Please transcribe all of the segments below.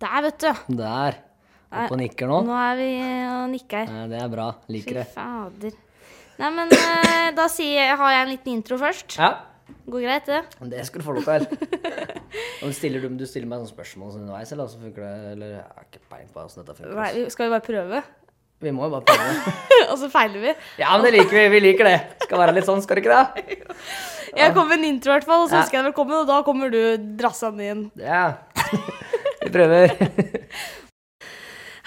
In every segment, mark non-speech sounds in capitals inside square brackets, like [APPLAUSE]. Der, vet du. Der. Opp og nikker nå. Nå er vi eh, og nikker. Nei, Det er bra. Fy Liker det. fader. Nei, men eh, da sier jeg, har jeg en liten intro først. Ja, Går greit, det? det skal du få lov [LAUGHS] til. Og stiller du, du stiller meg sånne spørsmål sånn underveis, eller så funker det? Eller jeg har ikke peiling på åssen dette funker. Nei, ass. vi- skal vi bare prøve? Vi må jo bare prøve. [LAUGHS] Og så feiler vi. Ja, men det liker vi. Vi liker det. Skal være litt sånn, skal det ikke det? Jeg kom med en intro, i hvert fall, og så Ja. ønsker jeg deg velkommen, og da kommer du drassende inn. Ja. [LAUGHS] Vi prøver.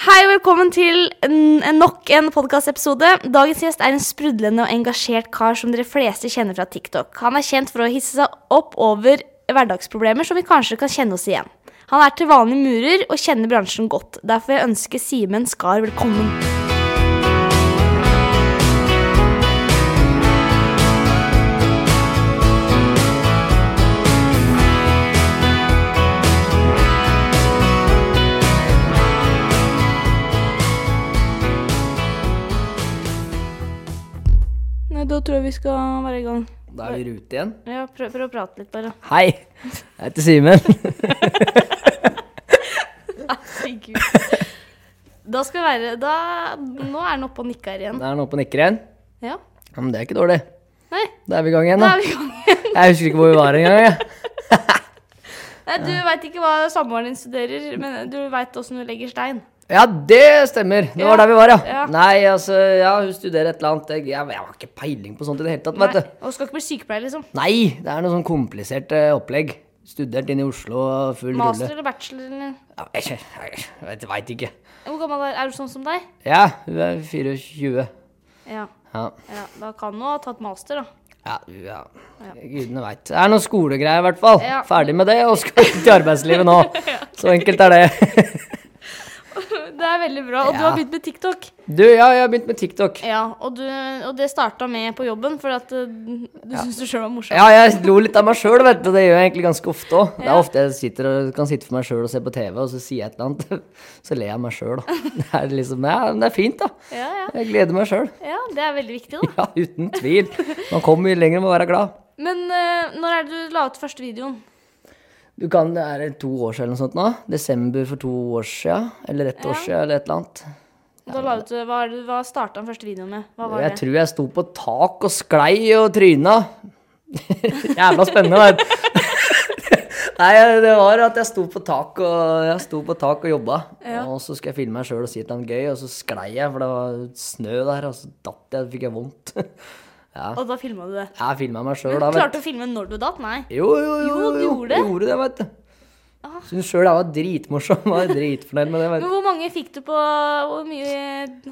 Hei, og velkommen til en, en nok en podkastepisode. Dagens gjest er en sprudlende og engasjert kar som dere fleste kjenner fra TikTok. Han er kjent for å hisse seg opp over hverdagsproblemer som vi kanskje kan kjenne oss igjen. Han er til vanlig murer og kjenner bransjen godt. Derfor vil jeg ønske Simen Skar velkommen. Nei, da tror jeg vi skal være i gang. Da er vi i rute igjen. Ja, prøv, prøv å prate litt, bare. Hei. Jeg heter Simen. [LAUGHS] Herregud. Da skal vi være da, Nå er den oppe og nikker igjen. Da er han oppe og nikker igjen. Ja. Ja, Men det er ikke dårlig. Nei, Da er vi i gang igjen, da da. er vi i gang igjen. Jeg husker ikke hvor vi var engang. jeg. Nei, du veit ikke hva samboeren din studerer, men du veit åssen du legger stein. Ja, det stemmer. Det var Ja. der vi var, ja. Ja. Nei, altså, ja, hun studerer et eller annet. Jeg, jeg, jeg har ikke peiling på sånt i det hele tatt, Nei, vet du. og skal ikke bli sykepleier, liksom. Nei, det er noe sånn komplisert eh, opplegg. Studert inn i Oslo og full Master rulle. eller bachelor eller Ja, jeg jeg, jeg veit ikke. Hvor gammel er, er du sånn som deg? Ja, hun er 24. Ja. Ja. ja da kan du ha tatt master, da. [LAUGHS] Ja, ja. Gudene veit. Det er noe skolegreier, i hvert fall. Ja. Ferdig med det, og skal ut i arbeidslivet [LAUGHS] nå. Så enkelt er det. Det er veldig bra. Og du Ja. har begynt med TikTok. Du, ja, jeg har begynt med TikTok. Ja, Og, du, og det starta med på jobben, for at eh, du syns du sjøl var morsom. Ja, jeg lo litt av meg sjøl, vet du. Det gjør jeg egentlig ganske ofte òg. Det er ofte jeg sitter og kan sitte for meg sjøl og se på TV, og så sier jeg et eller annet. [LAUGHS] Så ler jeg av meg sjøl, da. Det er liksom Ja, men det er fint, da. Ja, ja. Jeg gleder meg sjøl. ja, det er veldig viktig, da. Ja, uten tvil. Man kommer mye lenger med å være glad. [LAUGHS] Men eh, når er det du la ut første videoen? Du kan, det er to år siden eller noe sånt nå. Desember for to år siden, Eller ett år siden, eller et eller annet. Da la du ut, eh, hva er det- hva starta den første videoen med? Hva var Jeg det? tror jeg sto på tak og sklei og tryna. [LAUGHS] Jævla spennende, vet du. [LAUGHS] Nei, det var at jeg sto på tak og, jeg sto på tak og jobba. Og så skal jeg filme meg sjøl og si et eller annet gøy, og så sklei jeg, for det var snø der, og så datt jeg, og fikk jeg vondt. [LAUGHS] Og da filma du det. Jeg filma meg sjøl da, Klarte vet du. du å filme når du datt? Nei. Jo, jo, jo. Jo, du gjorde det. Ah. Gjorde det, vet du. Syns sjøl jeg var dritmorsom. Var dritfornøyd med det. vet Men du. hvor mange fikk du på Hvor mye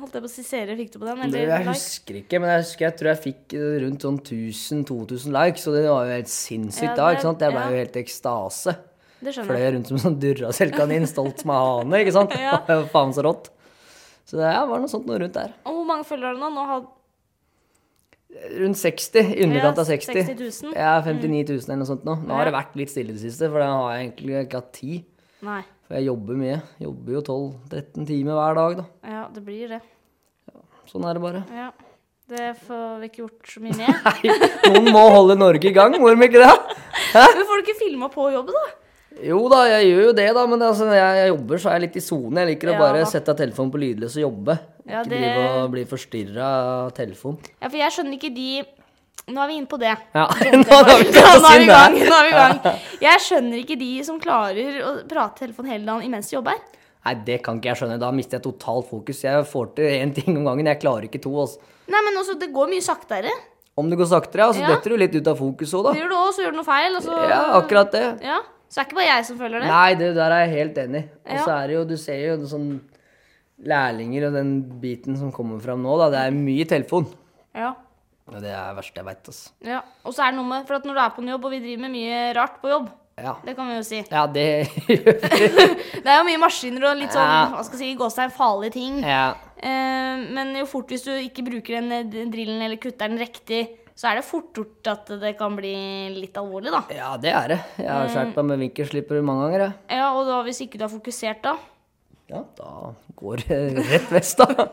holdt jeg på å si seere fikk du på den? Det, Eller jeg likes? husker ikke, men jeg husker jeg tror jeg fikk eh, rundt sånn 1000-2000 likes, og det var jo helt sinnssykt Ja, da. det- ikke sant? Jeg ble ja. jo helt i ekstase. Det skjønner jeg. Fløy rundt som en sånn durraselkanin, stolt som en hane, ikke sant? [LAUGHS] Ja. Det var jo [LAUGHS] faen så rått. Så det ja, var noe sånt noe rundt der. Og hvor mange følgere har du nå? nå har, Rundt 60, i underkant Ja, av 60. 60 000. Ja, 59 000 eller noe sånt nå. Nå Ja. har det vært litt stille i det siste, for da har jeg egentlig ikke hatt tid. nei. For jeg jobber mye. Jobber jo 12-13 timer hver dag, da. Ja, det blir det. Sånn er det bare. Ja. Det får vi ikke gjort så mye [LAUGHS] med. Nei, noen må holde Norge i gang, må de ikke det? Hæ? Men får du ikke filma på jobb, da? Jo da, jeg gjør jo det, da, men altså, når jeg, jeg jobber, så er jeg litt i sone. Jeg liker Ja. å bare sette telefonen på lydløs og jobbe. Ja, Ikke det- drive og bli forstyrra av telefon. Ja, for jeg skjønner ikke de Nå er vi inne på det. [LAUGHS] Ja, nå har vi Ja, ikke [LAUGHS] nå er vi i gang. det. Nå er vi i [LAUGHS] gang. Jeg skjønner ikke de som klarer å prate i telefon hele dagen imens de jobber. Nei, det kan ikke jeg skjønne. Da mister jeg totalt fokus. Jeg får til én ting om gangen. Jeg klarer ikke to. Altså. Nei, men også, det går mye saktere. Om det går saktere, ja, så Ja. detter du litt ut av fokus òg, Det da. gjør du òg, så gjør du noe feil, og så Ja, akkurat det. Ja. Så det er ikke bare jeg som føler det. Nei, det der er jeg helt enig i. Og Ja. så er det jo, du ser jo en sånn lærlinger og den biten som kommer fram nå, da. Det er mye telefon. Ja. Og det er det verste jeg veit, altså. ja. Og så er det noe med For at når du er på en jobb, og vi driver med mye rart på jobb, Ja. det kan vi jo si Ja, det [LAUGHS] gjør vi. Det er jo mye maskiner og litt sånn, Ja. hva skal jeg si, gåstein, farlige ting. Ja. Eh, men jo fort hvis du ikke bruker den eh, den drillen eller kutter den riktig, så er det fort gjort at det kan bli litt alvorlig, da. Ja, det er det. Jeg har skåret meg med vinkelsliper mange ganger. Jeg. Ja, og da hvis ikke du er fokusert, da. Ja, da går det [LAUGHS] rett vest, da.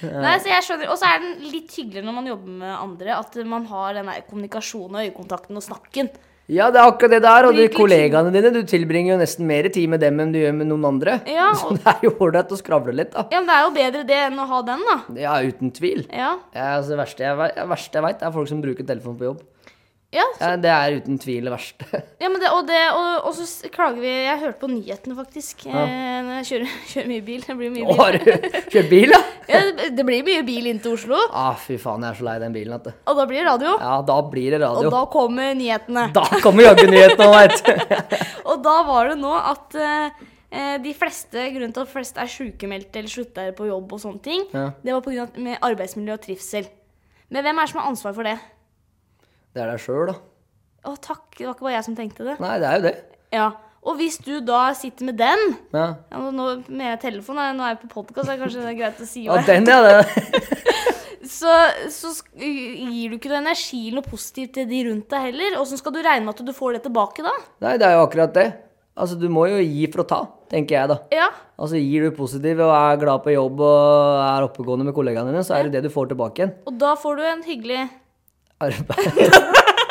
Nei, så jeg skjønner, Og så er den litt hyggeligere når man jobber med andre, at man har den der kommunikasjonen og øyekontakten og snakken. Ja, det er akkurat det det er. Og de Bruker liksom- kollegaene dine, du tilbringer jo nesten mer tid med dem enn du gjør med noen andre. Ja, [LAUGHS] Så og- det er jo ålreit å skravle litt, da. Ja, men det er jo bedre det enn å ha den, da. Ja, uten tvil. Ja. Ja, altså, det verste jeg, ve- det verste jeg veit, er folk som bruker telefon på jobb. Ja, Ja, det er uten tvil det verste. ja men det, og, det, og, og så s- klager vi Jeg hørte på nyhetene, faktisk. Eh, når jeg kjører, [LAUGHS] kjører mye bil. Det [LAUGHS] blir mye Å, bil. Har du kjørt bil, ja? Ja, det- det blir mye bil inn til Oslo, Ah, fy faen, jeg er så lei den bilen. At det. og da blir det radio. Ja, da blir det Og radio. da kommer nyhetene. Da kommer jaggu nyhetene, veit du. Og da var det nå at eh, eh, de fleste, grunnen til at flest er sykemeldte eller slutter på jobb og sånne ting, Ja. det var pga. arbeidsmiljø og trivsel. Men hvem er det som har ansvar for det? Det er deg sjøl, da. Å, takk. Det var ikke bare jeg som tenkte det. Nei, det er jo det. Ja. Og hvis du da sitter med den Ja. ja, nå- Nå med telefon, da, nå er jeg på podkast, så er det kanskje det er greit å si Ja, hva den, ja. Det. [LAUGHS] Så, så sk- gir du ikke noe energi noe positivt til de rundt deg heller. Åssen skal du regne med at du får det tilbake da? Nei, det er jo akkurat det. Altså, du må jo gi for å ta, tenker jeg, da. Ja. Altså, gir du positiv og er glad på jobb og er oppegående med kollegaene dine, så er det det du får tilbake igjen. Og da får du en hyggelig Arbeid. [LAUGHS]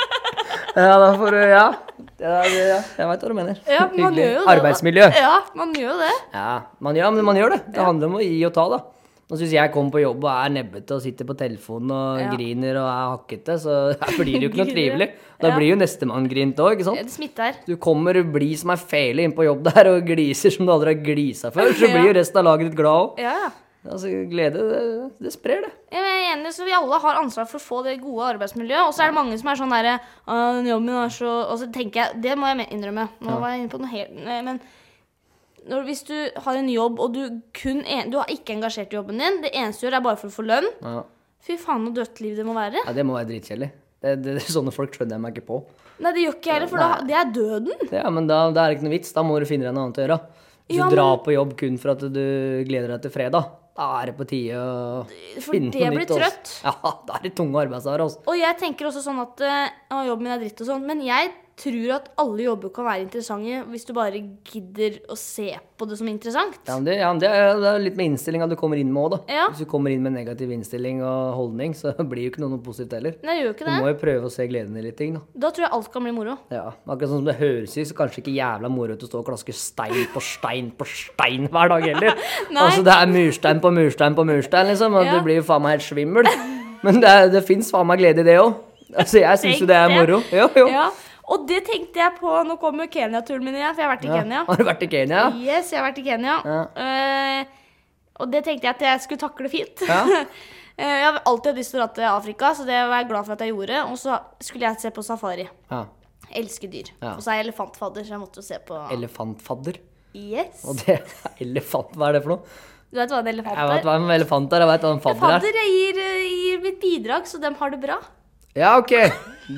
ja, da får du Ja. Ja, det- ja. Jeg veit hva du mener. Ja, man Hyggelig. gjør jo det. da. Arbeidsmiljø. Ja, man gjør jo det. Ja, man, ja, men man gjør det. Det handler om å gi og ta, da. Nå syns jeg kommer på jobb og er nebbete og sitter på telefonen og Ja. griner og er hakkete, så [LAUGHS] her blir det jo ikke noe Griner, ja. trivelig. Da Ja. blir jo nestemann grint òg, ikke sant? Det smitter. Du kommer blid som ei fele inn på jobb der og gliser som du aldri har glisa før, Ja. så blir jo resten av laget ditt glad òg. Ja, ja. Altså, glede, det, det sprer, det. Jeg er enig, så Vi alle har ansvar for å få det gode arbeidsmiljøet. Og så er det mange som er sånn derre «Å, den jobben er så Og så tenker jeg Det må jeg men- innrømme. Nå var jeg inne på noe helt nei, Men når, hvis du har en jobb, og du kun en, Du har ikke engasjert i jobben din, det eneste du gjør, er bare for å få lønn. Ja, Fy faen, så dødt liv det må være. ja Det må være dritkjedelig. Det, det, det, sånne folk skjønner jeg meg ikke på. Nei, det gjør ikke jeg heller, for da, det er døden. Ja, men da, da er det ikke noe vits. Da må du finne deg noe annet å gjøre. Hvis du Ja, men- drar på jobb kun for at du gleder deg til fredag, da er det på tide å For finne det noe blir nytt. ass. trøtt. Ja, da er det tunge arbeidsdager. altså. ass. Og jeg tenker også sånn at eh, «Å, jobben min er dritt og sånn, men jeg tror at alle jobber kan være interessante hvis du bare gidder å se på det som interessant. Ja, men det, ja, men det, er, det er litt med innstillinga du kommer inn med òg, da. Ja. Hvis du kommer inn med negativ innstilling og holdning, så [LAUGHS] blir jo ikke noe noe positivt heller. Nei, det gjør ikke Du det. må jo prøve å se gleden i litt ting, da. Da tror jeg alt kan bli moro. Ja, Akkurat sånn som det høres ut, så kanskje ikke jævla moro ut å stå og klaske stein på stein på stein hver dag heller. [LAUGHS] Nei. altså, det er murstein på murstein på murstein, liksom, og Ja. du blir jo faen meg helt svimmel. Men det, er- det fins faen meg glede i det òg. Altså, jeg syns jo det er Tenk moro. Jo, jo. Ja, Og det tenkte jeg på Nå kommer Kenya-turen min igjen, for jeg har vært i Ja. Kenya. Har du vært i Kenya? Yes, jeg har vært i Kenya. Ja. Eh, og det tenkte jeg at jeg skulle takle fint. Ja. [LAUGHS] Eh, jeg har alltid hatt lyst til å dra til Afrika, så det var jeg glad for at jeg gjorde. Og så skulle jeg se på safari. ja. Jeg Elsker dyr. Ja. Og så er jeg elefantfadder, så jeg måtte jo se på Elefantfadder. Yes. Og det elefant, hva er det for noe? Du vet hva en Jeg elefant vet er? hva en elefant er, jeg vet hva en fadder er. Fadder jeg gir, eh, gir mitt bidrag, så dem har det bra. Ja, ok.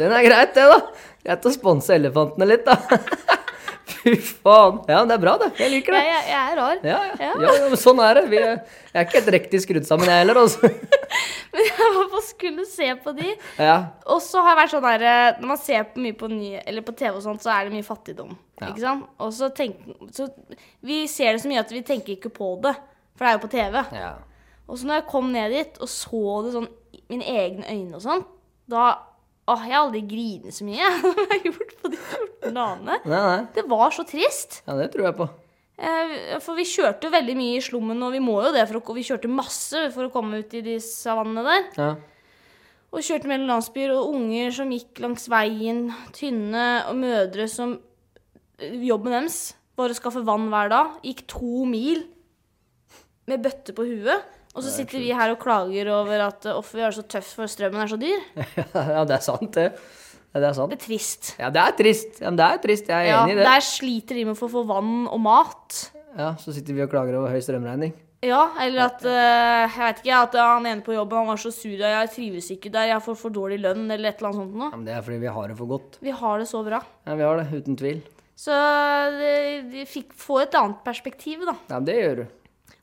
Den er greit, det, da. Greit å sponse elefantene litt, da. [LAUGHS] Fy faen. Ja, men det er bra, det. Jeg liker det. Jeg, jeg, jeg er rar. Ja, ja. Ja. ja. ja men sånn er det. Vi er, jeg er ikke helt riktig skrudd sammen, jeg heller. Altså. [LAUGHS] Men jeg var på skulle se på de. Ja. Og så har jeg vært sånn der eh, Når man ser på mye på, ny, eller på TV og sånt, så er det mye fattigdom. Ja. Ikke sant? Og så tenk, så Vi ser det så mye at vi tenker ikke på det, for det er jo på TV. ja. Og så når jeg kom ned dit og så det sånn i mine egne øyne og sånn, da Åh, jeg har aldri grinet så mye [LAUGHS] som jeg har gjort på de 14 dagene. Nei, nei. Det var så trist. Ja, det tror jeg på. Eh, For vi kjørte jo veldig mye i slummen, og vi må jo det, for å, ko- vi kjørte masse for å komme ut i de savannene der. Ja. [LAUGHS] Og kjørte mellom landsbyer og unger som gikk langs veien, tynne og mødre som Jobben deres var å skaffe vann hver dag. Gikk to mil med bøtte på huet. Og så sitter vi her og klager over at uh, off, vi har det så tøft for strømmen er så dyr. ja, det er sant, det. Ja, det er Det sant. er trist. Ja, det er trist. Ja, men det er trist. Jeg er Ja, enig i det. der sliter de med å få- få vann og mat. Ja, Så sitter vi og klager over høy strømregning. Ja, eller at uh, Jeg vet ikke, at han ene på jobben han var så sur, og jeg trives ikke der, jeg får for dårlig lønn, eller et eller annet sånt Ja, noe. men Det er fordi vi har det for godt. Vi har det så bra. Ja, Vi har det, uten tvil. Så det, vi fikk få et annet perspektiv, da. Ja, det gjør du.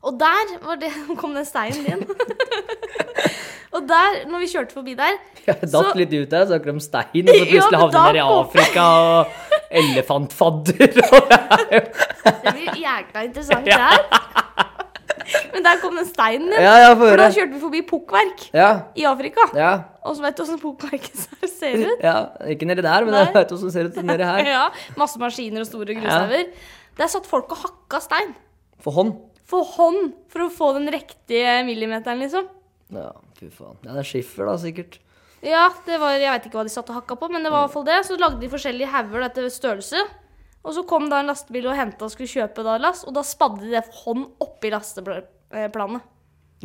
Og der var det, [LAUGHS] kom den steinen din. [LAUGHS] og der, når vi kjørte forbi der Jeg datt Så- litt ut der, snakker om stein, og [LAUGHS] Ja, så men plutselig havner da dere i kom- Afrika og [LAUGHS] elefantfadder. og- Det blir jækla interessant der. [LAUGHS] Men der kom den steinen din. Ja, ja, få For da høre. kjørte vi forbi pukkverk Ja, i Afrika. ja. Og så vet du åssen pukkverket [LAUGHS] ser ut? ja. Ikke nedi der, men Nei. [LAUGHS] jeg veit hvordan det ser ut nedi [LAUGHS] her. Ja, Masse maskiner og store grushauger. Der satt folk og hakka stein. For hånd. For hånd. For å få den riktige millimeteren, liksom. Ja, fy faen. Ja, det er skiffer, da, sikkert. Ja, det var, jeg vet ikke hva de satt og hakka på, men det var i hvert fall det. Så lagde de forskjellige hauger etter størrelse. Og så kom da en lastebil og henta og skulle kjøpe da last, og da spadde de det for hånd oppi lasteplanet.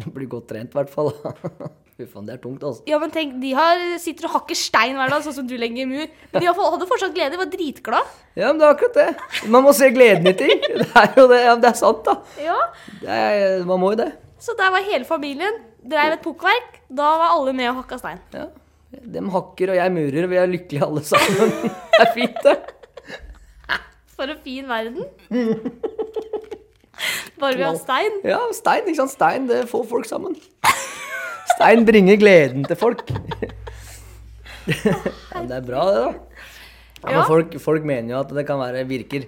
Det blir godt trent, i hvert fall. [LAUGHS] Fy faen, det er tungt, altså. Ja, men tenk, de har, sitter og hakker stein hver dag, sånn som du legger i mur. Men de har fått- hadde fortsatt glede, de var dritglad. Ja, men det er akkurat det. Man må se gleden i ting. [LAUGHS] Det er jo det. Ja, men det er sant, da. Ja, Det er, man må jo det. Så der var hele familien, dreiv et pukkverk. Da var alle med og hakka stein. Ja. De hakker, og jeg murer, og vi er lykkelige alle sammen. [LAUGHS] Det er fint, det. For en fin verden. Bare vi har stein. Ja, stein, ikke sant? Stein, det får folk sammen. Stein bringer gleden til [LAUGHS] folk. ja, men det er bra, det, da. Ja, men Ja. Mm. folk, folk mener jo at det kan være virker.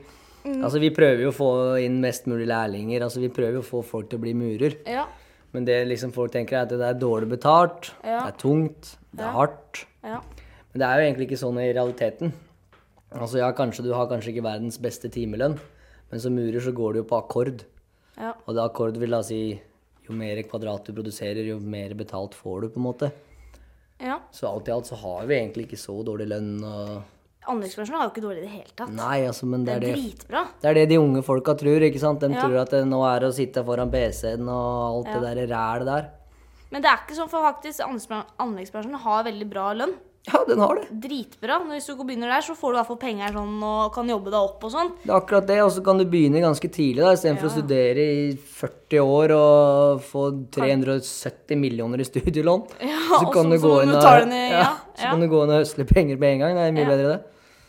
Altså, Vi prøver jo å få inn mest mulig lærlinger. altså Vi prøver jo å få folk til å bli murer. Ja, Men det liksom folk tenker, er at det er dårlig betalt, Ja. det er tungt, det er hardt. ja. Men det er jo egentlig ikke sånn i realiteten. Altså, ja, kanskje Du har kanskje ikke verdens beste timelønn, men som murer så går det jo på akkord. ja. Og det akkord vil da si jo mer kvadrat du produserer, jo mer betalt får du, på en måte. ja. Så alt i alt så har vi egentlig ikke så dårlig lønn og Anleggsbransjen var jo ikke dårlig i det hele tatt. Nei, altså, men det er det. Dritbra. Det er det de unge folka tror, ikke sant. De Ja. tror at det nå er å sitte foran PC-en og alt det der rælet der. Men det er ikke sånn, for faktisk anleggsbra- anleggsbransjen har veldig bra lønn. Ja, den har det. Dritbra. Når hvis du ikke begynner der, så får du i hvert fall penger sånn, og kan jobbe deg opp og sånn. Det er akkurat det. Og så kan du begynne ganske tidlig, da, istedenfor for å studere i 40 år og få 370 millioner i studielån. Ja, [LAUGHS] så og kan så- du så gå må inn du og ta den [LAUGHS] i- ja, så ja. kan du gå inn og høsle penger med en gang. Det er mye Ja. bedre, det.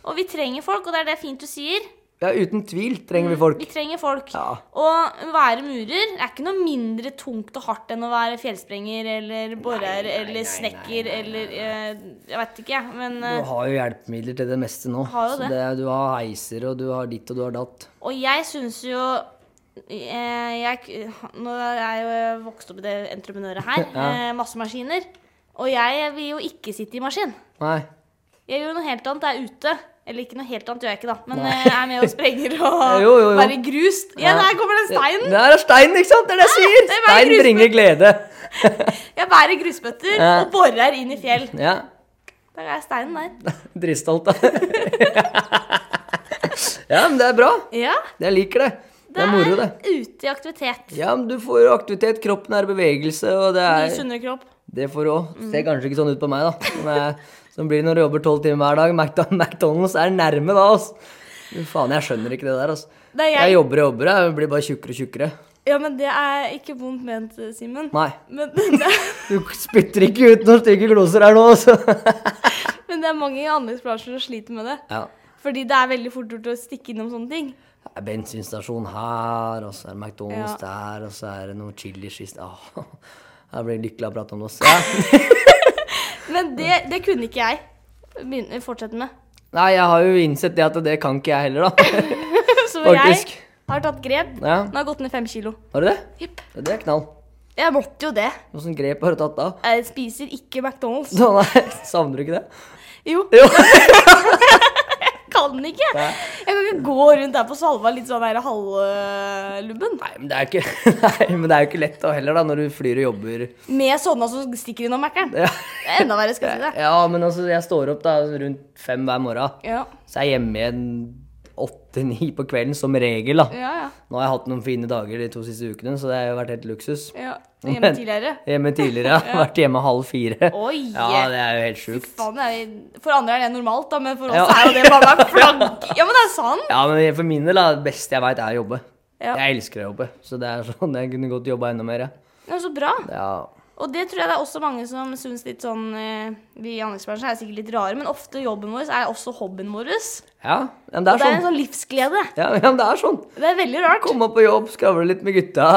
Og vi trenger folk, og det er det fint du sier. Ja, uten tvil trenger vi folk. Vi trenger folk. Ja. Og å være murer er ikke noe mindre tungt og hardt enn å være fjellsprenger eller borer eller snekker eller eh, Jeg vet ikke, jeg. Men eh, Du har jo hjelpemidler til det meste nå. Har jo Så det. det er, du har heiser, og du har ditt og du har datt. Og jeg syns jo eh, jeg, Nå er jeg jo vokst opp i det entreprenøret her. Ja. eh, Masse maskiner. Og jeg vil jo ikke sitte i maskin. Nei. Jeg gjør noe helt annet. Jeg er ute. Eller ikke noe helt annet gjør jeg ikke, da. Men eh, jeg er med og sprenger og [LAUGHS] Jo, jo, jo. være grust. Ja, der kommer den steinen. Ah, Der er steinen, ikke sant? Det er det jeg sier! det er bare Stein grusbø- bringer glede. Jeg bærer grusbøtter Ja. og borer inn i fjell. Ja. [LAUGHS] Der er steinen der. Drittstolt, da. [LAUGHS] ja, men det er bra. Ja. Jeg liker det. Det er moro, det. ute i aktivitet. Ja, men du får jo aktivitet, kroppen er i bevegelse, og det Mye er sunnere kropp. Det får du òg. Ser kanskje ikke sånn ut på meg, da. Som, jeg, som blir når du jobber tolv timer hver dag. McDon- McDonald's er nærme da, altså. Men Faen, jeg skjønner ikke det der, altså. Det er jeg. Jeg jobber og jobber, jeg blir bare tjukkere og tjukkere. Ja, men det er ikke vondt ment, Simen. Nei. Men [LAUGHS] det er Du spytter ikke ut noen stygge gloser her nå, altså. Men det er mange i anleggsbransjen som sliter med det. [LAUGHS] Ja. Fordi det er veldig fort gjort å stikke innom sånne ting. Det er bensinstasjon her, og så er det Ja. McDonald's der, og så er det noe chiliskist Åh, [LAUGHS] Jeg blir lykkelig av å prate om det også. Ja. Men det, det kunne ikke jeg begynne, fortsette med. [LAUGHS] Nei, jeg har jo innsett det at det kan ikke jeg heller, da. Så Faktisk. jeg har tatt grep. Nå Ja. har jeg gått ned fem kilo. Har du det? Jepp. Det er knall. Jeg måtte jo det. Åssen grep har du tatt da? Jeg spiser ikke McDonald's. [LAUGHS] Så, nei, [LAUGHS] savner du ikke det? Jo. [LAUGHS] Jo. Kan ikke. Nei. Jeg kan ikke gå rundt der på Salva litt sånn der halvlubben. Nei, men det er jo ikke, nei, men det er jo ikke lett da heller, da, når du flyr og jobber. Med sånne som stikker innom Mækkern. Ja. Det er enda verre, skal jeg si det. [LAUGHS] ja, men altså, jeg står opp da rundt fem hver morgen. Ja. Så er jeg hjemme igjen åtte-ni på kvelden, som regel, da. Ja, ja. Nå har jeg hatt noen fine dager de to siste ukene, så det har jo vært helt luksus. ja. Hjemme tidligere. Hjemme [LAUGHS] tidligere, ja. Vært hjemme halv fire. Oi. Ja, det er jo helt sjukt. Faen, det er, for andre er det normalt, da, men for oss Ja. er jo det bare en [LAUGHS] flagg. Ja, men det er sant. Ja, men for min del, da, det beste jeg veit, er å jobbe. Ja. Jeg elsker å jobbe, så det er [LAUGHS] sånn jeg kunne godt jobba enda mer. jeg. Ja, så bra. Ja. Og det tror jeg det er også mange som syns litt sånn eh, Vi i anleggsbransjen er sikkert litt rare, men ofte jobben vår er også hobbyen vår. ja, men det Det er er en sånn. sånn livsglede. Ja, men det er sånn. Det er veldig rart. Komme opp på jobb, skravle litt med gutta,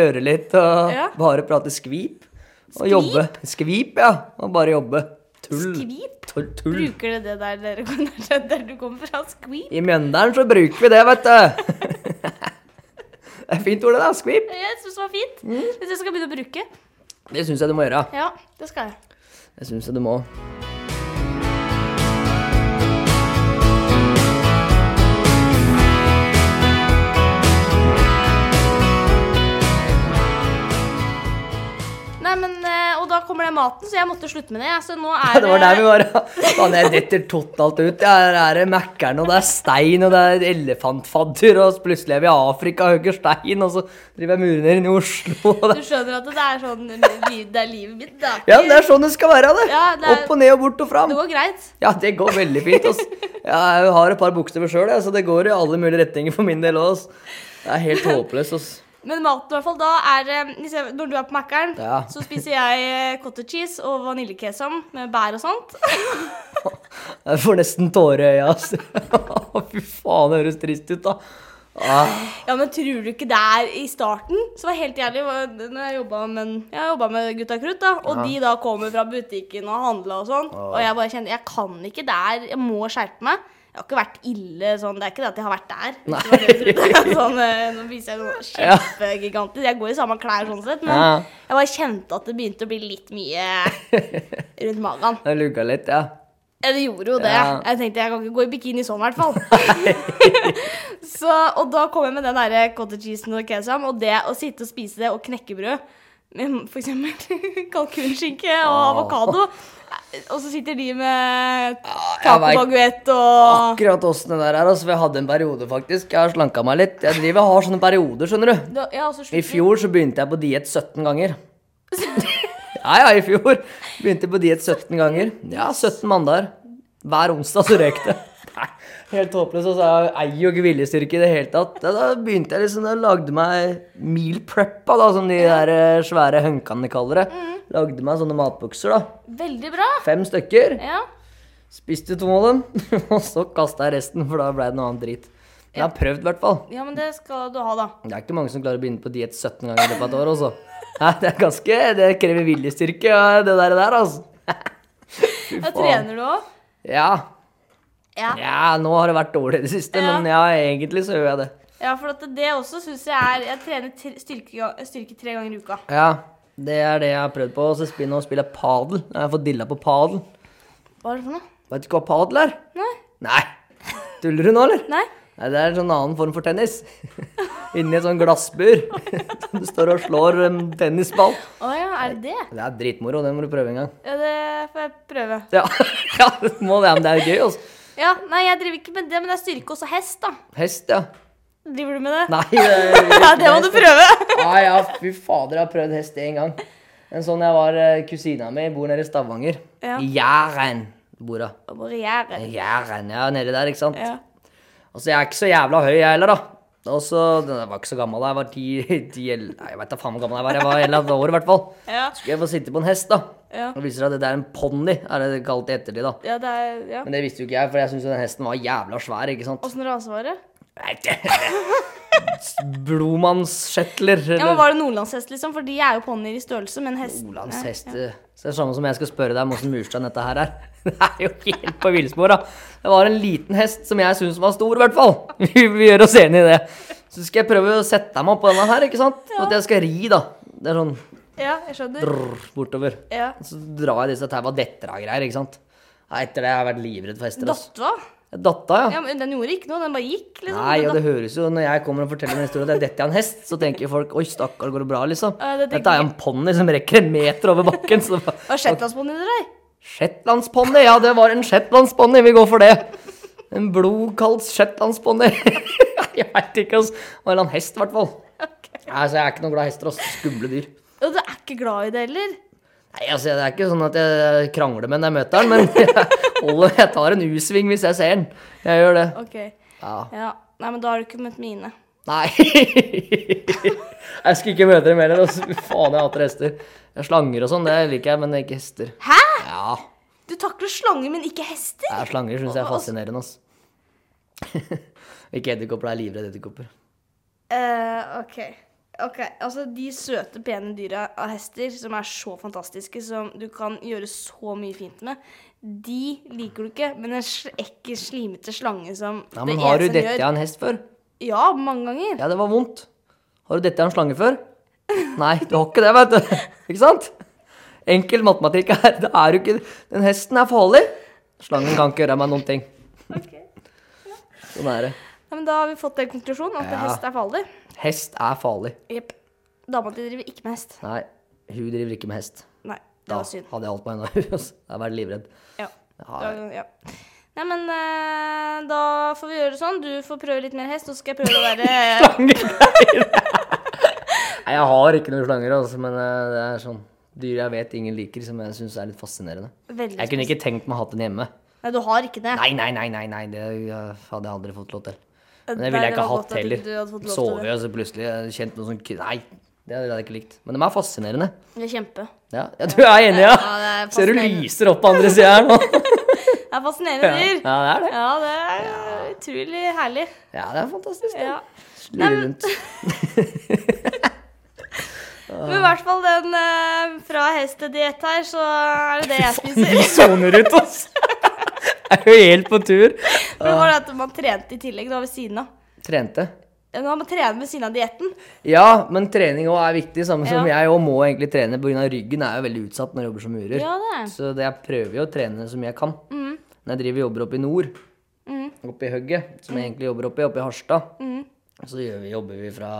røre litt og Ja. bare prate skvip. Og Skvip? jobbe. Skvip, ja. Og bare jobbe. Tull. Skvip? Tull. tull. Bruker du det [LAUGHS] der, dere, der, der du kommer fra? Squeak? I Mjøndalen så bruker vi det, vet du. [LAUGHS] Det er fint ord, det der. Skvip. Jeg syns det var fint. Mm. Jeg syns jeg skal begynne å bruke. Det syns jeg du må gjøre. Ja, det skal jeg. Det syns jeg du må. Nei, men, eh, Og da kommer den maten, så jeg måtte slutte med det. Så nå Ja, er [LAUGHS] Det var der vi var. Faen, jeg detter totalt ut. Ja, Her er det Mækkern, og det er stein, og det er elefantfadder, og så plutselig er vi i Afrika og hugger stein, og så driver jeg murer ned inn i Oslo. Og det. Du skjønner at det er sånn li- Det er livet mitt. Det, er Ja, ikke- det er sånn det skal være, det. Ja, det er- Opp og ned og bort og fram. det går greit. Ja, det går veldig fint, ass. Ja, jeg har et par bokstaver sjøl, så det går i alle mulige retninger for min del òg. Det er helt håpløst, ass. Men maten, i hvert fall, da er eh, hvis jeg- Når du er på Mækkern, Ja. så spiser jeg eh, cottage cheese og vaniljekesam med bær og sånt. Jeg får nesten tårer i øya, ass. [LAUGHS] Fy faen, det høres trist ut, da. Ah. Ja, men tror du ikke det er i starten? Så var det helt jævlig var- når jeg jobba med, jeg jobbet med Gutta Krutt, da. Og de da kommer fra butikken og handla og sånn. Og jeg bare kjente jeg kan ikke der, jeg må skjerpe meg. Jeg har ikke vært ille sånn, det er ikke det at jeg har vært der. hvis det var det du trodde. [LAUGHS] sånn, eh, nå viser jeg noe Ja. kjempegigantisk. Jeg går i samme klær sånn sett, men Ja. jeg bare kjente at det begynte å bli litt mye rundt magen. Det lugga litt, ja. Ja, det gjorde jo det. Ja. Jeg tenkte jeg kan ikke gå i bikini sånn, i hvert [LAUGHS] fall. [LAUGHS] så, og da kom jeg med den der cottage cheesen og kesam, og det å sitte og spise det, og knekkebrød med f.eks. [LAUGHS] kalkunskinke og avokado. Og så sitter de med jeg vet. tacobaguett og Akkurat åssen det der er. Altså, for jeg hadde en periode, faktisk. Jeg har slanka meg litt. Jeg driver og har sånne perioder, skjønner du. Da- ja, og så I slutter- fjor så begynte jeg på diett 17 ganger. Ja, ja, i fjor. Begynte på diett 17 ganger. Ja, 17 mandager. Hver onsdag så røyk det. Nei, Helt håpløst. Altså, jeg eier jo ikke viljestyrke i det hele tatt. Da, da begynte jeg liksom, da lagde meg meal preppa, da, som de der eh, svære hønkene kaller det. Lagde meg sånne matbukser, da. Veldig bra. Fem stykker. Ja. Spiste to av dem, [LAUGHS] og så kasta jeg resten, for da ble det noe annet drit. Men jeg har prøvd, i hvert fall. ja, men det skal du ha, da. Det er ikke mange som klarer å begynne på diett 17 ganger i løpet av et år, altså. Hæ, Det er ganske Det krever viljestyrke, ja, det der, der altså. Fy Jeg faen. trener du òg? Ja. Ja. ja. Nå har det vært dårlig i det siste, Ja. men ja, egentlig så gjør jeg det. ja, for at det også syns jeg er Jeg trener tre- styrke, styrke tre ganger i uka. Ja. Det er det jeg har prøvd på. Og så spiller jeg spiller padel. Jeg har fått dilla på padel. Hva er det for noe? Vet du ikke hva padel er? Nei? Nei. Tuller du nå, eller? Nei? Nei, det er en sånn annen form for tennis. [LAUGHS] Inni et sånn glassbur. [LAUGHS] Du står og slår en tennisball. Å ja, er det det? Det er dritmoro. Det må du prøve en gang. Ja, det får jeg prøve. Ja, [LAUGHS] ja det må det, men det er jo gøy, altså. Ja, Nei, jeg driver ikke med det, men det er styrke også hest, da. Hest, ja. Driver du med det? Nei, [LAUGHS] det, Ja, det må du [LAUGHS] prøve! ja, altså. ja, fy fader, jeg har prøvd hest én gang. En sånn jeg var eh, Kusina mi bor nede i Stavanger. Ja. I Jæren bor hun. Barriere. Jæren, ja, nede der, ikke sant. Ja. Altså, jeg er ikke så jævla høy, jeg heller, da. Og så, Jeg var ikke så gammel da. Jeg var ti, ti eller- Nei, Jeg veit da faen hvor gammel jeg var. Jeg var hele år, i hvert fall. Ja. Skulle jeg få sitte på en hest, da. Ja. Og viser seg at det er en ponni, er det kalt i ettertid, da. ja, det er ja. Men det visste jo ikke jeg, for jeg syntes jo den hesten var jævla svær, ikke sant. Åssen rase var det? Nei, det Blodmannsshetler. Ja, men Var det nordlandshest, liksom? For de er jo ponnier i størrelse, men hest Olands hest. Så det er samme som jeg skal spørre deg om åssen murstein dette her er. [LAUGHS] Det er jo helt på villspor, da. Det var en liten hest som jeg syns var stor, i hvert fall. [LAUGHS] Vi, vi gjør oss enige i det. Så skal jeg prøve å sette meg oppå denne her, ikke sant. Og at jeg skal ri, da. Det er sånn Ja, jeg skjønner. brrr, bortover. Ja. Så drar jeg disse taua detter av greier, ikke sant. Nei, etter det har jeg vært livredd for hester. Altså. Dattva? Jeg datt av, ja. Ja, men Den gjorde ikke noe, den bare gikk, liksom. Nei, og Den det høres jo Når jeg kommer og forteller en historie at jeg detter av en hest, så tenker folk oi, stakkar, går det bra, liksom. Ja, det tenker Dette er jo en ponni som rekker en meter over bakken. Så det var- datt- Hva er shetlandsponnien deres? Shetlandsponni! Ja, det var en shetlandsponni, vi går for det. En blodkald shetlandsponni. [LAUGHS] jeg veit ikke, altså. Det var en eller annen hest, i hvert fall. Nei, så jeg er ikke noe glad i hester, ass. Skumle dyr. Og du er ikke glad i det heller? Nei, altså, det er ikke sånn at jeg krangler med den jeg møter den, men [LAUGHS] jeg, holder, jeg tar en U-sving hvis jeg ser den. Jeg gjør det. OK. Ja. Ja. Nei, men da har du ikke møtt mine. Nei. [LAUGHS] jeg skulle ikke møte dem heller. Altså. Fy Faen, jeg hater hester. Slanger og sånn, det liker jeg, men ikke hester. Hæ? Ja, Du takler slanger, men ikke hester? jeg er slanger syns jeg er fascinerende, [LAUGHS] altså. ikke edderkopper, jeg er livredd edderkopper. Eh, ok. Ok, altså De søte, pene dyra av hester som er så fantastiske, som du kan gjøre så mye fint med, de liker du ikke. Men en sl- ekkel, slimete slange som Ja, men har du eneste den dette av en hest før? Ja, mange ganger. Ja, det var vondt. Har du dette i en slange før? Nei, du har ikke det, vet du. [LAUGHS] Ikke sant? Enkel matematikk her. Det er jo ikke Den hesten er farlig. Slangen kan ikke gjøre meg noen ting. Sånn er det. Ja, men da har vi fått den konklusjonen at Ja. hest er farlig. Hest er farlig. Jepp. Dama di driver ikke med hest. Nei, hun driver ikke med hest. Nei, det Da var synd. hadde jeg holdt meg unna henne. altså. Jeg hadde vært livredd. Ja. Ja, Det var- ja. Nei, men eh, da får vi gjøre det sånn. Du får prøve litt mer hest, og så skal jeg prøve å være [LAUGHS] [LAUGHS] Nei, jeg har ikke noen slanger, altså, men eh, det er sånn dyr jeg vet ingen liker, som jeg syns er litt fascinerende. veldig Jeg kunne ikke tenkt meg å ha den hjemme. Nei, du har ikke det. Nei, nei, nei, nei, nei, det eh, hadde jeg aldri fått lov til. Men det Eh, Der ville jeg var ikke godt hatt at heller. du hadde fått lov til Sovet det. og så plutselig eh, kjent noe sånn k- Nei, det hadde jeg ikke likt. Men de er fascinerende. Det er kjempe. Ja, ja du er enig, ja? Ja, det er [LAUGHS] Ser du fascinerende. lyser opp på andre sida her nå. [LAUGHS] Det er Ja, fascinerende dyr. ja, det er det. Ja, det er eh, utrolig herlig. Ja, det er fantastisk. det. Ja. Slurve rundt. Men i hvert fall den eh, fra hest til diett her, så er det det jeg spiser. Vi soner ut, ass. [LAUGHS] Er jo helt på tur. Men [LAUGHS] det var det at man trente i tillegg, da ved siden av. Trente. Nå har man trener ved siden av dietten. Ja, men trening òg er viktig. Samme som Ja. jeg òg må egentlig trene pga. ryggen. er jo veldig utsatt når jeg jobber som murer. Ja, det er. Mm. Så det, jeg prøver jo å trene som jeg kan. Når jeg driver og jobber oppe i nord, oppe i Høgget, som Mm. jeg egentlig jobber oppe i, oppe i Harstad, så gjør vi, jobber vi fra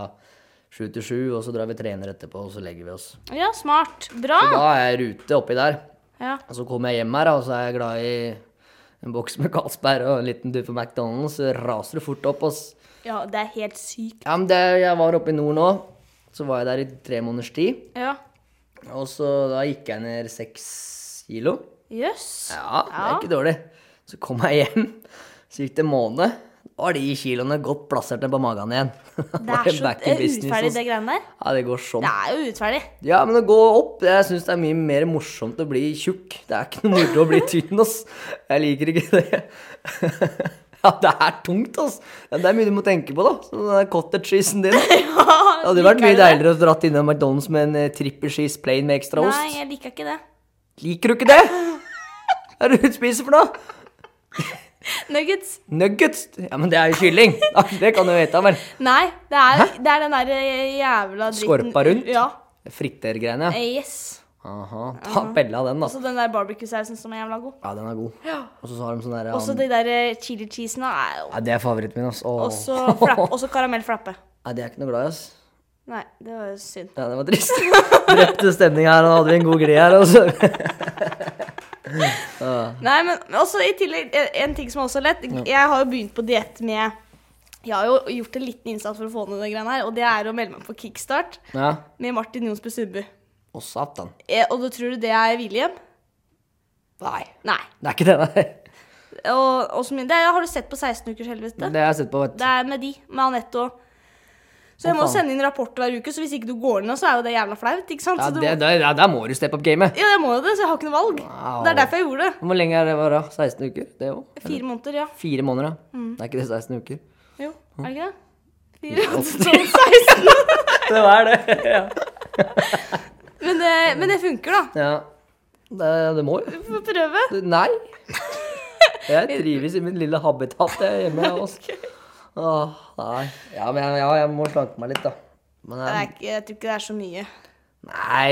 sju til sju, og så drar vi og trener etterpå, og så legger vi oss. Ja, smart. Bra. Da er jeg i rute oppi der. Ja. Og så kommer jeg hjem her, da, og så er jeg glad i en boks med Carlsberg og en liten duff på McDonald's. Så raser det fort opp. ass. ja, det er helt sykt. Ja, men det, jeg var oppe i nord nå. Så var jeg der i tre måneders tid. Ja. Og så da gikk jeg ned seks kilo. Jøss. Ja, det er ikke dårlig. Så kom jeg hjem, så gikk det en måned. Da var de kiloene godt plassert ned på magen igjen. [LAUGHS] Det er så det er altså. urettferdig, det greiene der. Ja, det går sånn. Det er jo urettferdig. Ja, men å gå opp Jeg syns det er mye mer morsomt å bli tjukk. Det er ikke noe moro å bli tynn, ass. Jeg liker ikke det. [LAUGHS] Ja, det er tungt, ass. Ja, Det er mye du må tenke på, da. Som den der cottage cheesen din. [LAUGHS] Det Ja, hadde jo vært mye deiligere å dratt innom McDonald's med en eh, triple cheese plain med ekstra ost. Nei, jeg liker ikke det. Liker du ikke det? Hva er det du spiser for noe? Nuggets. Nuggets? Ja, men det er jo [LAUGHS] kylling. Ja, Det kan du vite, vel. Nei, det er, det er den der eh, jævla dritten. Skorpa rundt? Ja. Fritergreiene, ja. Eh, Yes. Aha. Ta pelle av den, da. Og så den der barbecue-sausen som er jævla god. Ja, den er god. Og så har de sånn derre Og så de der eh, chili-cheesene er jo Ja, det er favoritten min, ass. Åh. Og så frapp- og så karamellflappe. Nei, det er ikke noe glad i, ass. Nei, det var jo synd. Ja, det var trist. [LAUGHS] Drepte stemning her, og hadde vi en god glid her, altså. [LAUGHS] Nei, men også i tillegg eh, en ting som er også lett. Jeg har jo begynt på diett med Jeg har jo gjort en liten innsats for å få ned det greiene her, og det er å melde meg på kickstart Ja. med Martin Jonsbø Sundby. Å, satan. Eh, Og du tror du det er William? Nei. Nei. Det er ikke det, nei. Og, og som, det har du sett på 16 ukers helvete. Det har jeg sett på, vet du. Det er med de, med Anette og Så jeg Å, må faen. sende inn rapport hver uke, så hvis ikke du går ned, så er jo det jævla flaut. ikke sant? Ja, Så du det, må, det, ja, der må du steppe opp gamet. ja, jeg må jo det, så jeg har ikke noe valg. Wow. Det er derfor jeg gjorde det. Hvor lenge er det bare? 16 uker? Det òg? Fire måneder, ja. Fire måneder, ja. Mm. Det er ikke det 16 uker? Jo, er det ikke det? Fire måneder, sånn 16. Det var det. [LAUGHS] Ja. Men det, men det funker, da. ja. Det, det må jo. Vi får prøve. [LAUGHS] Nei. Jeg trives i min lille habitat jeg er hjemme hos [LAUGHS] Åh, nei. Ja, men jeg, ja, jeg må slanke meg litt, da. Men eh, Det jeg, er ikke, jeg tror ikke det er så mye. nei,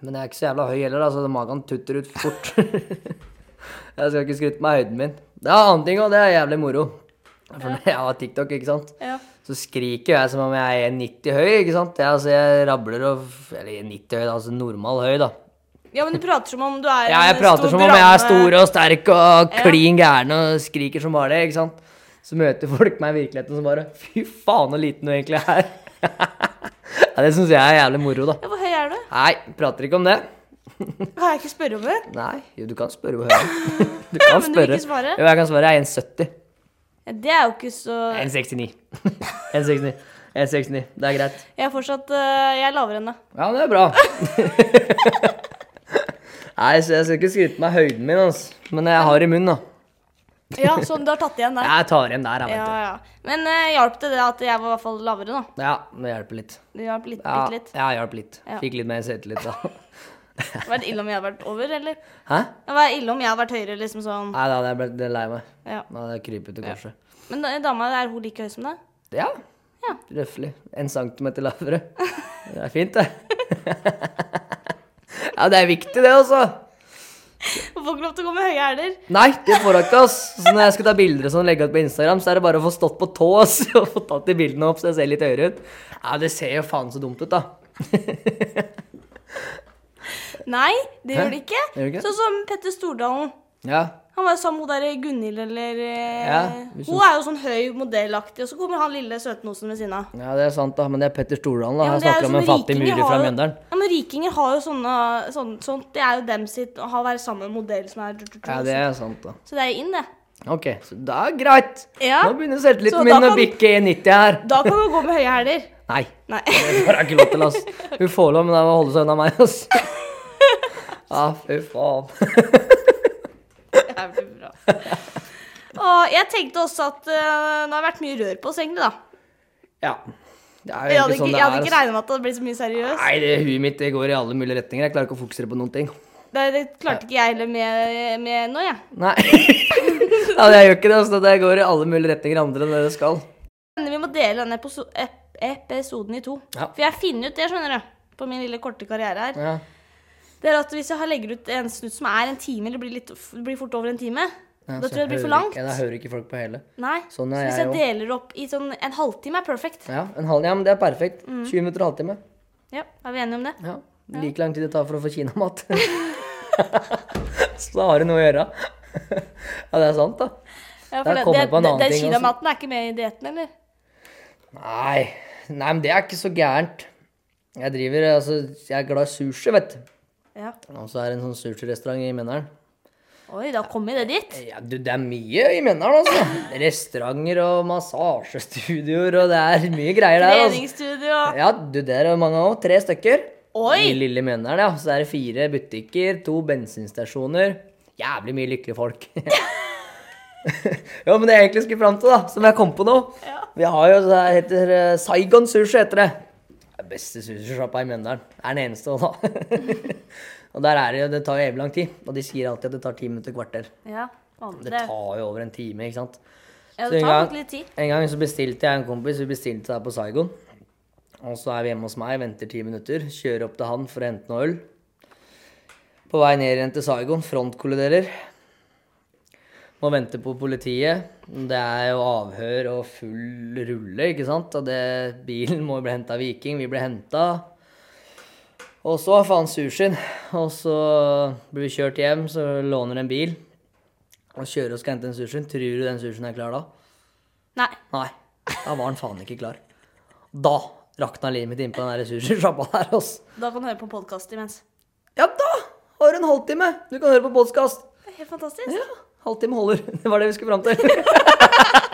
men jeg er ikke så jævla høy heller, da, så magen tutter ut fort. [LAUGHS] Jeg skal ikke skryte meg av høyden min. Det er en annen ting, og det er jævlig moro. For når jeg har TikTok, ikke sant, Ja. så skriker jeg som om jeg er 90 høy, ikke sant. Jeg, altså, jeg rabler og Eller 90 høy, da, altså normal høy, da. ja, men du prater som om du er Ja, jeg en prater stor som om jeg er drame. stor og sterk og klin gæren og skriker som bare det, ikke sant? Så møter folk meg i virkeligheten som bare Fy faen, så liten du egentlig er. [LAUGHS] ja, det syns jeg er jævlig moro, da. Ja, Hvor høy er du? Nei, prater ikke om det. Kan jeg ikke spørre om det? Nei, jo, du kan spørre hvor høy [LAUGHS] jeg er. Du kan Men du vil spørre. ikke svare? Jo, jeg kan svare. Jeg er 1,70. Ja, Det er jo ikke så [LAUGHS] 1,69. 1,69. 1,69. Det er greit. Jeg er fortsatt eh, Jeg er lavere enn deg. Ja, det er bra. [LAUGHS] Nei, så jeg skal ikke skryte meg av høyden min, altså. Men jeg har i munnen, da. [LAUGHS] Ja, sånn du har tatt igjen der. Jeg tar igjen der, jeg, Ja, vet du. ja. Men eh, hjalp det det at jeg var i hvert fall lavere, da? Ja, det hjelper litt. Det hjalp litt, Ja, bitte litt. ja jeg hjalp litt. Ja. Fikk litt mer selvtillit da. [LAUGHS] Det hadde vært ille om jeg hadde vært over, eller? Hæ? Det hadde vært ille om jeg hadde vært høyere, liksom sånn. Nei, da hadde jeg blitt lei meg. Ja. eh, Da hadde jeg krypet til korset. Men da- dama, er hun like høy som deg? Ja. Ja. Røffelig. En centimeter lavere. Det er fint, det. [LAUGHS] ja, det er viktig, det, altså. Får ikke lov til å gå med høye hæler. Nei, det får jeg ikke, ass. Så når jeg skal ta bilder og sånn, legge ut på Instagram, så er det bare å få stått på tå ass, [LAUGHS] og få tatt de bildene opp så jeg ser litt høyere ut. Ja, det ser jo faen så dumt ut, da. [LAUGHS] Nei, det gjør det ikke. Gjør det ikke? Sånn som Petter Stordalen. Ja. Han var jo sammen med hun derre Gunhild eller eh, Ja, hvis Hun er jo sånn høy modellaktig, og så kommer han lille søtnosen ved siden av. ja, det er sant, da. Men det er Petter Stordalen, da. Ja, men jeg det er jo snakker om en sånn fattig rikinger mulig fra har jo- Mjøndalen. Ja, men rikinger har jo sånne, sånn- sånt. Det er jo dem sitt å ha være sammen med en modell som er Ja, det er sant, da. Så det er jo inn, det. Ok, så da er det greit. Ja. Nå begynner Så selvtilliten da min å kan- bikke 1,90 her. Da kan du gå med høye hæler. Nei. Nei. [LAUGHS] Det får jeg ikke lov til, ass. Hun får lov, men da må hun holde seg unna meg, ass. Ja, fy faen. Jævlig bra. Og jeg tenkte også at eh, det har vært mye rør på oss, egentlig, da. Ja. Det er Jeg hadde jo egentlig ikke, sånn det jeg er. hadde ikke ass. regna med at det ble så mye seriøst. Nei, det huet mitt det går i alle mulige retninger. Jeg klarer ikke å fokusere på noen ting. Det, det klarte ikke jeg heller med, med nå, jeg. Nei. [LAUGHS] Ja, jeg gjør ikke det, så det går i alle mulige retninger andre enn det det skal. Men Vi må dele denne episo- ep- episoden i to. Ja. For jeg finner ut det, skjønner du, på min lille korte karriere her. Ja. Det er at Hvis jeg har- legger ut en snutt som er en time, eller blir, litt, blir fort over en time, Ja, da så tror jeg det blir for hører langt. Ikke, ja, da hører ikke folk på hele. Nei. så Sånn er hvis jeg jeg jo. deler opp i sånn en halvtime, er perfekt. Ja, en halv, ja, men det er perfekt. Mm. 20 minutter og halvtime. Ja, Er vi enige om det? Ja. Like lang tid det tar for å få kinamat. [LAUGHS] så da har du noe å gjøre. [LAUGHS] ja, det er sant, da. Ja, Da kom jeg på en annen den ting også. kinamaten er ikke med i dietten, eller? Nei, nei, men det er ikke så gærent. Jeg driver, altså, jeg er glad i sushi, vet du. Ja. Og så er det en sånn sushi-restaurant i Mjøndalen. Oi, da kom vi det dit. Ja, du, det er mye i Mjøndalen, altså. Restauranter og massasjestudioer, og det er mye greier der, altså. Treningsstudio. Ja, du, det er mange av Tre stykker. I Oi! lille Mjøndalen, ja. Så er det fire butikker, to bensinstasjoner. Jævlig mye lykkelige folk. [LAUGHS] ja, men det jeg egentlig skulle fram til, da, som jeg kom på nå Ja. Vi har jo det her heter eh, Saigon Sushi, heter det. Det er beste sushisjappa i Mjøndalen. Det er den eneste, da. [LAUGHS] og der er det jo, det tar jo evig lang tid. Og de sier alltid at det tar ti minutter kvarter. Ja, Det vanlig. tar jo over en time, ikke sant. Ja, Så det en tar gang- nok litt tid. En gang så bestilte jeg en kompis, vi bestilte der på Saigon. Og så er vi hjemme hos meg, venter ti minutter, kjører opp til han for å hente noe øl. På vei ned igjen til Saigon, frontkolliderer. Må vente på politiet. Det er jo avhør og full rulle, ikke sant? Og det, bilen må jo bli henta av Viking, vi ble henta. Og så faen sushien. Og så blir vi kjørt hjem, så låner en bil. Og kjører og skal hente den sushien. Tror du den sushien er klar da? Nei. Nei, da var han faen ikke klar. Da rakna livet mitt innpå den der sushisjappa der, ass. Da kan du høre på podkast imens. Ja, da har du en halvtime. Du kan høre på podkast. Det er Helt fantastisk. [LAUGHS] Ja, halvtime holder. Det var det vi skulle fram til.